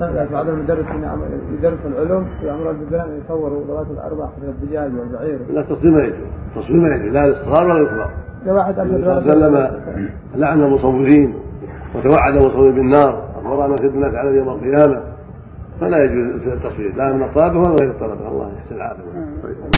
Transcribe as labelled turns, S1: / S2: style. S1: طلعت بعض المدرس يدرس العلوم يأمر البلدان يصوروا ذوات الأربع مثل الدجاج والبعير
S2: لا التصوير ما يجوز التصوير ما يجوز لا الاصرار ولا الاطلاق
S1: ده واحد أمر
S2: النبي صلى الله عليه وسلم لعن المصورين وتوعد المصورين بالنار اخبر عن في الناس على يوم القيامه فلا يجوز التصوير لا من الطلبه ولا غير الطلبه الله يحسن العافيه